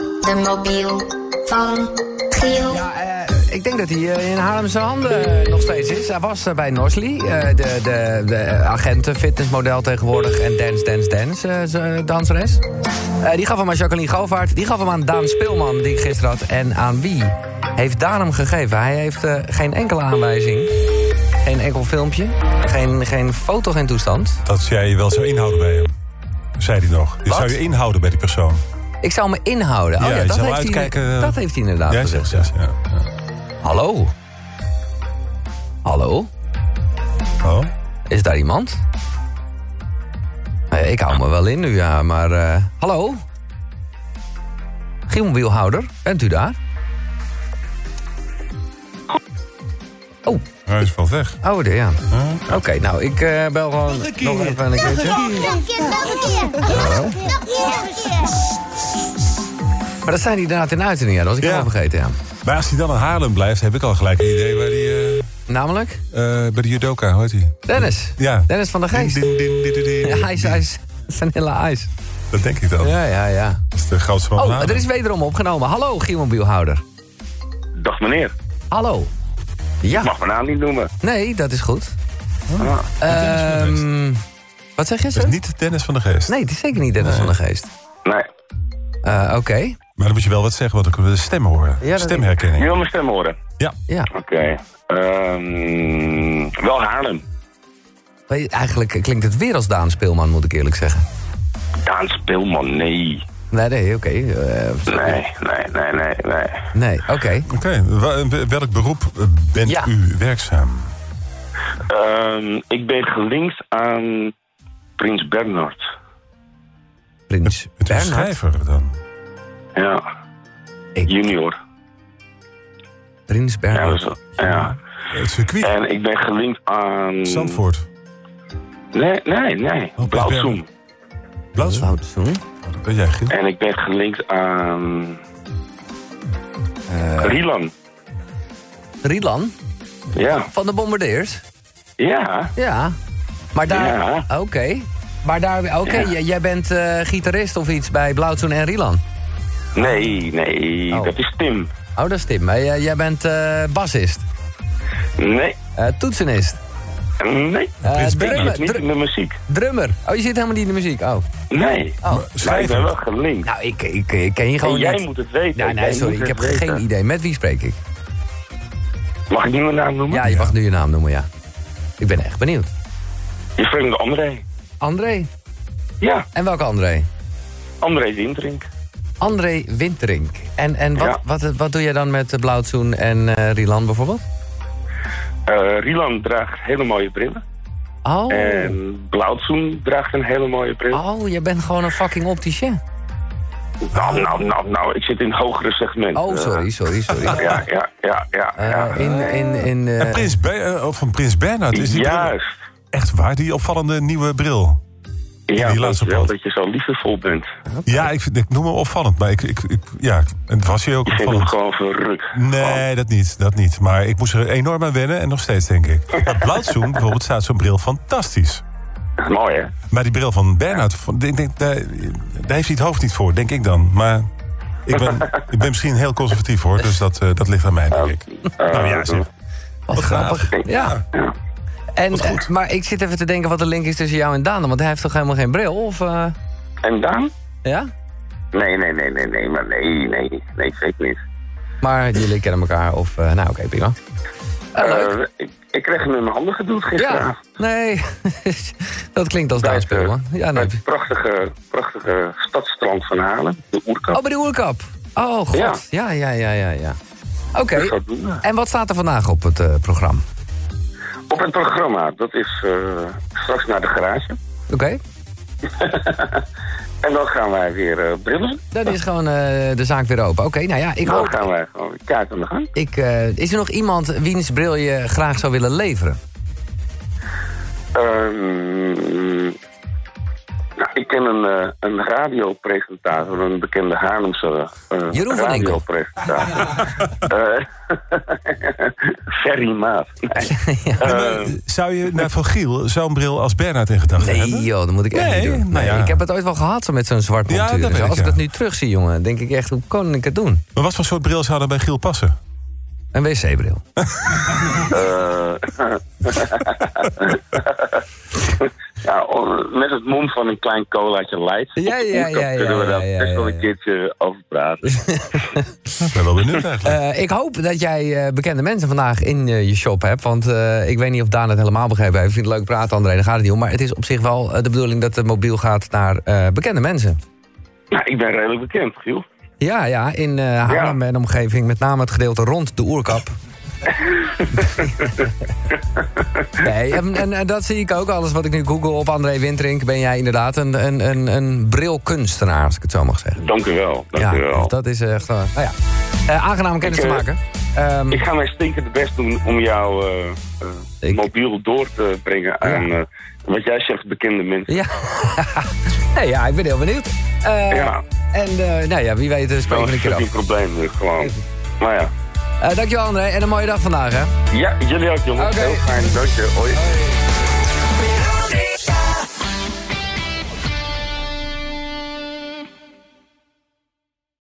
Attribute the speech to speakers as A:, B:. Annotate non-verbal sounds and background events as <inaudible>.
A: De mobiel van Giel.
B: Ja, eh, ik denk dat hij eh, in Haarlemse handen eh, nog steeds is. Hij was eh, bij Norsly, eh, de, de, de agenten, fitnessmodel tegenwoordig en dance, dance, dance eh, ze- danseres. Eh, die gaf hem aan Jacqueline Govaert, die gaf hem aan Daan Speelman, die ik gisteren had. En aan wie heeft Daan hem gegeven? Hij heeft eh, geen enkele aanwijzing, geen enkel filmpje, geen, geen foto, geen toestand.
C: Dat jij je wel zou inhouden bij hem. Zei hij nog. Je
B: Wat?
C: zou je inhouden bij die persoon.
B: Ik zou me inhouden. Oh
C: Ja,
B: ja,
C: je
B: dat,
C: zou
B: heeft
C: uitkijken,
B: hij,
C: eh,
B: dat heeft hij inderdaad
C: Jij
B: gezegd.
C: zegt dat, ja.
B: Hallo? Hallo?
C: ja. Oh.
B: Is daar iemand? Eh, ik hou me wel in nu, ja, maar... eh, hallo? Giel Wielhouder, bent u daar? Oh,
C: Hij is wel weg.
B: oh, de- ja.
C: Huh?
B: Oké, nou, ik eh, bel gewoon nog, even een keertje. Maar dat zijn die inderdaad in Uiten, ja, dat was ik
C: Ja.
B: helemaal vergeten, ja.
C: Maar als hij dan in Haarlem blijft, heb ik al gelijk een idee waar die... eh,
B: Namelijk?
C: eh, bij de judoka, hoort hij?
B: Dennis.
C: Ja.
B: Dennis van der Geest.
C: Din, din, din, din, din,
B: Ja,
C: din.
B: ijs, ijs. Vanilla ijs.
C: Dat denk ik dan.
B: Ja, ja, ja.
C: Dat is de grootste man van
B: Oh,
C: Haarlem.
B: er is wederom opgenomen. Hallo, Giel Wielhouder.
D: Dag meneer,
B: Hallo. Ja.
D: mag mijn naam niet noemen.
B: Nee, dat is goed.
D: Ah,
C: Eh. Dennis van de
B: Ehm, wat zeg je
C: Dat
B: zo?
C: is niet Dennis van de Geest.
B: Nee, het is zeker niet Dennis van de Geest.
D: nee,
B: Eh, Oké,
C: Maar dan moet je wel wat zeggen, want dan kunnen we de stem horen.
B: Ja, dat-
D: je
C: Stemherkenning.
D: wil mijn stem horen.
C: Ja.
B: ja.
D: Oké. Ehm, wel Haarlem.
B: Weet je, Eigenlijk klinkt het weer als Daan Speelman, moet ik eerlijk zeggen.
D: Daan Speelman, nee.
B: Nee, nee, oké. eh,
D: Nee, nee, nee, nee, nee.
B: nee, oké.
C: Oké, wa- welk beroep eh, bent
B: Ja.
C: u werkzaam?
D: Ehm, ik ben gelinkt aan Prins Bernhard.
B: Prins
C: Bent u een
B: Bernhard.
C: schrijver dan?
D: Ja,
B: Ik-
D: junior.
B: Prins
D: Ja,
B: Bernhard.
D: dus- ja.
C: Het circuit,
B: Ehm.
D: En ik ben gelinkt aan...
C: Zandvoort.
D: Nee, nee, nee.
C: Oh,
D: Blauwzoen.
C: Bernhard. Blauwzoen?
B: Wout Zoen.
C: Oh, dat weet jij, Giel.
D: En ik ben gelinkt aan... Rielan.
B: Rilan
D: Ja,
B: van de Bombardeers.
D: ja.
B: Ja. Maar daar...
D: Ja.
B: Oké. Maar daar... Oké, j- jij bent eh, gitarist of iets bij Blauwzoen en Rilan.
D: Nee, nee,
B: Oh.
D: dat is Tim.
B: Oh, dat is Tim. Maar jij- jij bent eh, bassist,
D: Nee,
B: eh, toetsenist,
D: nee.
B: Eh,
D: ik
B: drummer,
D: zit niet
B: dru-
D: in de muziek.
B: drummer. Oh, je zit helemaal niet in de muziek. Oh.
D: Nee.
B: Oh.
D: Maar ik ben wel
C: Schrijver.
D: gelinkt.
B: Nou, ik, ik, ik ken je gewoon
D: En jij
B: niet.
D: moet het weten.
B: Nee, nee,
D: Jij
B: sorry,
D: moet
B: ik heb
D: het weten.
B: geen idee. Met wie spreek ik?
D: Mag ik nu mijn naam noemen?
B: Ja, je mag nu je naam noemen, ja. Ik ben echt benieuwd.
D: Je vreemde André.
B: André.
D: Ja,
B: En welke André?
D: André Winterink.
B: André Winterink. En, en wat,
D: Ja.
B: wat, wat doe jij dan met eh, Blauwtsoen en eh, Rilan bijvoorbeeld?
D: Eh Rilan draagt hele mooie brillen.
B: Oh.
D: En Blauwzoen draagt een hele mooie bril.
B: oh, je bent gewoon een fucking opticien.
D: Nou, nou, nou, nou, ik zit in het hogere segment.
B: Oh,
D: Eh,
B: sorry, sorry, sorry.
D: <laughs> ja, ja, ja, ja. ja.
B: Eh, in, in, in, eh,
C: Prins Be- eh, of van Prins Bernhard is die bril
D: Juist.
C: echt waar, die opvallende nieuwe bril.
D: Ja,
C: Die
D: dank
C: laatste
D: je wel
C: plaat.
D: dat je zo liefdevol bent.
C: Ja, ik, vind- ik noem hem opvallend, maar ik, ik, ik- ja, het was hij ook
D: Ik vind hem
C: opvallend.
D: gewoon verrukt.
C: Nee, dat niet, dat niet. Maar ik moest er enorm aan wennen en nog steeds, denk
D: <laughs>
C: ik. Maar Blauwzoen bijvoorbeeld staat zo'n bril fantastisch.
D: Gewoon, Mooi, hè?
C: Maar die bril van Bernhard, van- ik denk, daar, daar heeft hij het hoofd niet voor, denk ik dan. Maar ik ben,
D: <laughs>
C: ik ben misschien heel conservatief hoor, dus dat, eh, dat ligt aan mij, denk ik. Nou
D: Eh,
C: ja, zeg.
B: wat grappig. Ja. En, eh, maar ik zit even te denken wat de link is tussen jou en Daan. Want hij heeft toch helemaal geen bril? Of, eh,
D: En dan?
B: ja?
D: Nee, nee, nee, nee, nee, maar nee, nee, nee, zeker niet.
B: Maar jullie kennen elkaar. Of, eh, nou, oké, prima. Eh, leuk.
D: Eh, ik, ik kreeg hem in mijn handen gedoet
B: Ja,
D: gisteravond.
B: nee. <laughs> dat klinkt als
D: Bij
B: Daan
D: het, eh,
B: Speelman. Ja,
D: bij
B: nee.
D: het prachtige, prachtige stadstrand van Halen, de Oerkamp.
B: Oh, bij de oerkap. Oh, god.
D: Ja.
B: Ja, ja, ja, ja, ja. Oké.
D: Dus dat doen we.
B: En wat staat er vandaag op het eh, programma?
D: Op het programma, dat is eh, straks naar de garage.
B: Oké.
D: En dan gaan wij weer eh, brillen.
B: Dan is gewoon eh, de zaak weer open. Oké, nou ja, ik
D: Dan
B: hoop...
D: gaan wij gewoon weer kaart aan de gang.
B: Ik, eh, is er nog iemand wiens bril je graag zou willen <laughs> leveren?
D: Ehm, nou, ik ik ken een, eh, een radiopresentator, een bekende Haarlemse eh
B: Jeroen van Enkel. <laughs>
D: radiopresentator. Eh, <laughs> Ferry Maat.
C: Eh, zou je nou, van Giel zo'n bril als Bernhard in gedachten
B: Nee,
C: hebben?
B: joh, dat moet ik echt
C: Nee,
B: niet doen.
C: nou ja.
B: Ik heb het ooit wel gehad zo met zo'n zwart
C: Ja,
B: montuur.
C: dat
B: en zo.
C: weet
B: Als
C: ik,
B: ik
C: ja.
B: dat nu terugzie, jongen, denk ik echt, hoe kon ik het doen?
C: Maar wat voor soort bril zou dan bij Giel passen?
B: Een wc-bril.
D: Ja, oh, met het mom van een klein colaatje light.
B: Ja, ja, ja, ja,
D: Kunnen we
B: ja,
D: daar
B: ja,
D: best wel
B: ja.
D: een keertje over
B: <laughs>
D: praten.
C: Ik ben wel benieuwd eigenlijk.
B: Eh, ik hoop dat jij eh, bekende mensen vandaag in eh, je shop hebt. Want eh, ik weet niet of Daan het helemaal begrepen heeft. Ik vind het leuk praten, André, daar gaat het niet om. Maar het is op zich wel eh, de bedoeling dat de mobiel gaat naar eh, bekende mensen.
D: Nou, ik ben redelijk bekend, Giel.
B: Ja, ja, in eh Haarlem en omgeving. Met name het gedeelte rond de
D: <laughs>
B: oerkap. nee, en, en, en dat zie ik ook. Alles wat ik nu google op André Winterink... ben jij inderdaad een, een, een, een brilkunstenaar, als ik het zo mag zeggen.
D: Dank u wel. Dank u wel.
B: dus dat is echt... eh, nou ja, Eh, aangenaam kennis
D: Ik,
B: te
D: eh,
B: maken. Ehm,
D: Ik ga mijn stinkende best doen om jou eh, eh,
B: Ik-
D: mobiel door te brengen aan eh, wat jij zegt, bekende mensen.
B: ja. <laughs> nee, ja, ik ben heel benieuwd. Eh,
D: Ja.
B: En eh, nou ja, wie weet eh,
D: Dat
B: spreken we een
D: is
B: keer af.
D: geen probleem, eh, gewoon. Maar ja.
B: Eh, dankjewel André en een mooie dag vandaag hè.
D: Ja, jullie ook, jongens.
B: Oké.
D: Heel fijn. Dank je. Hoi.
B: Hoi.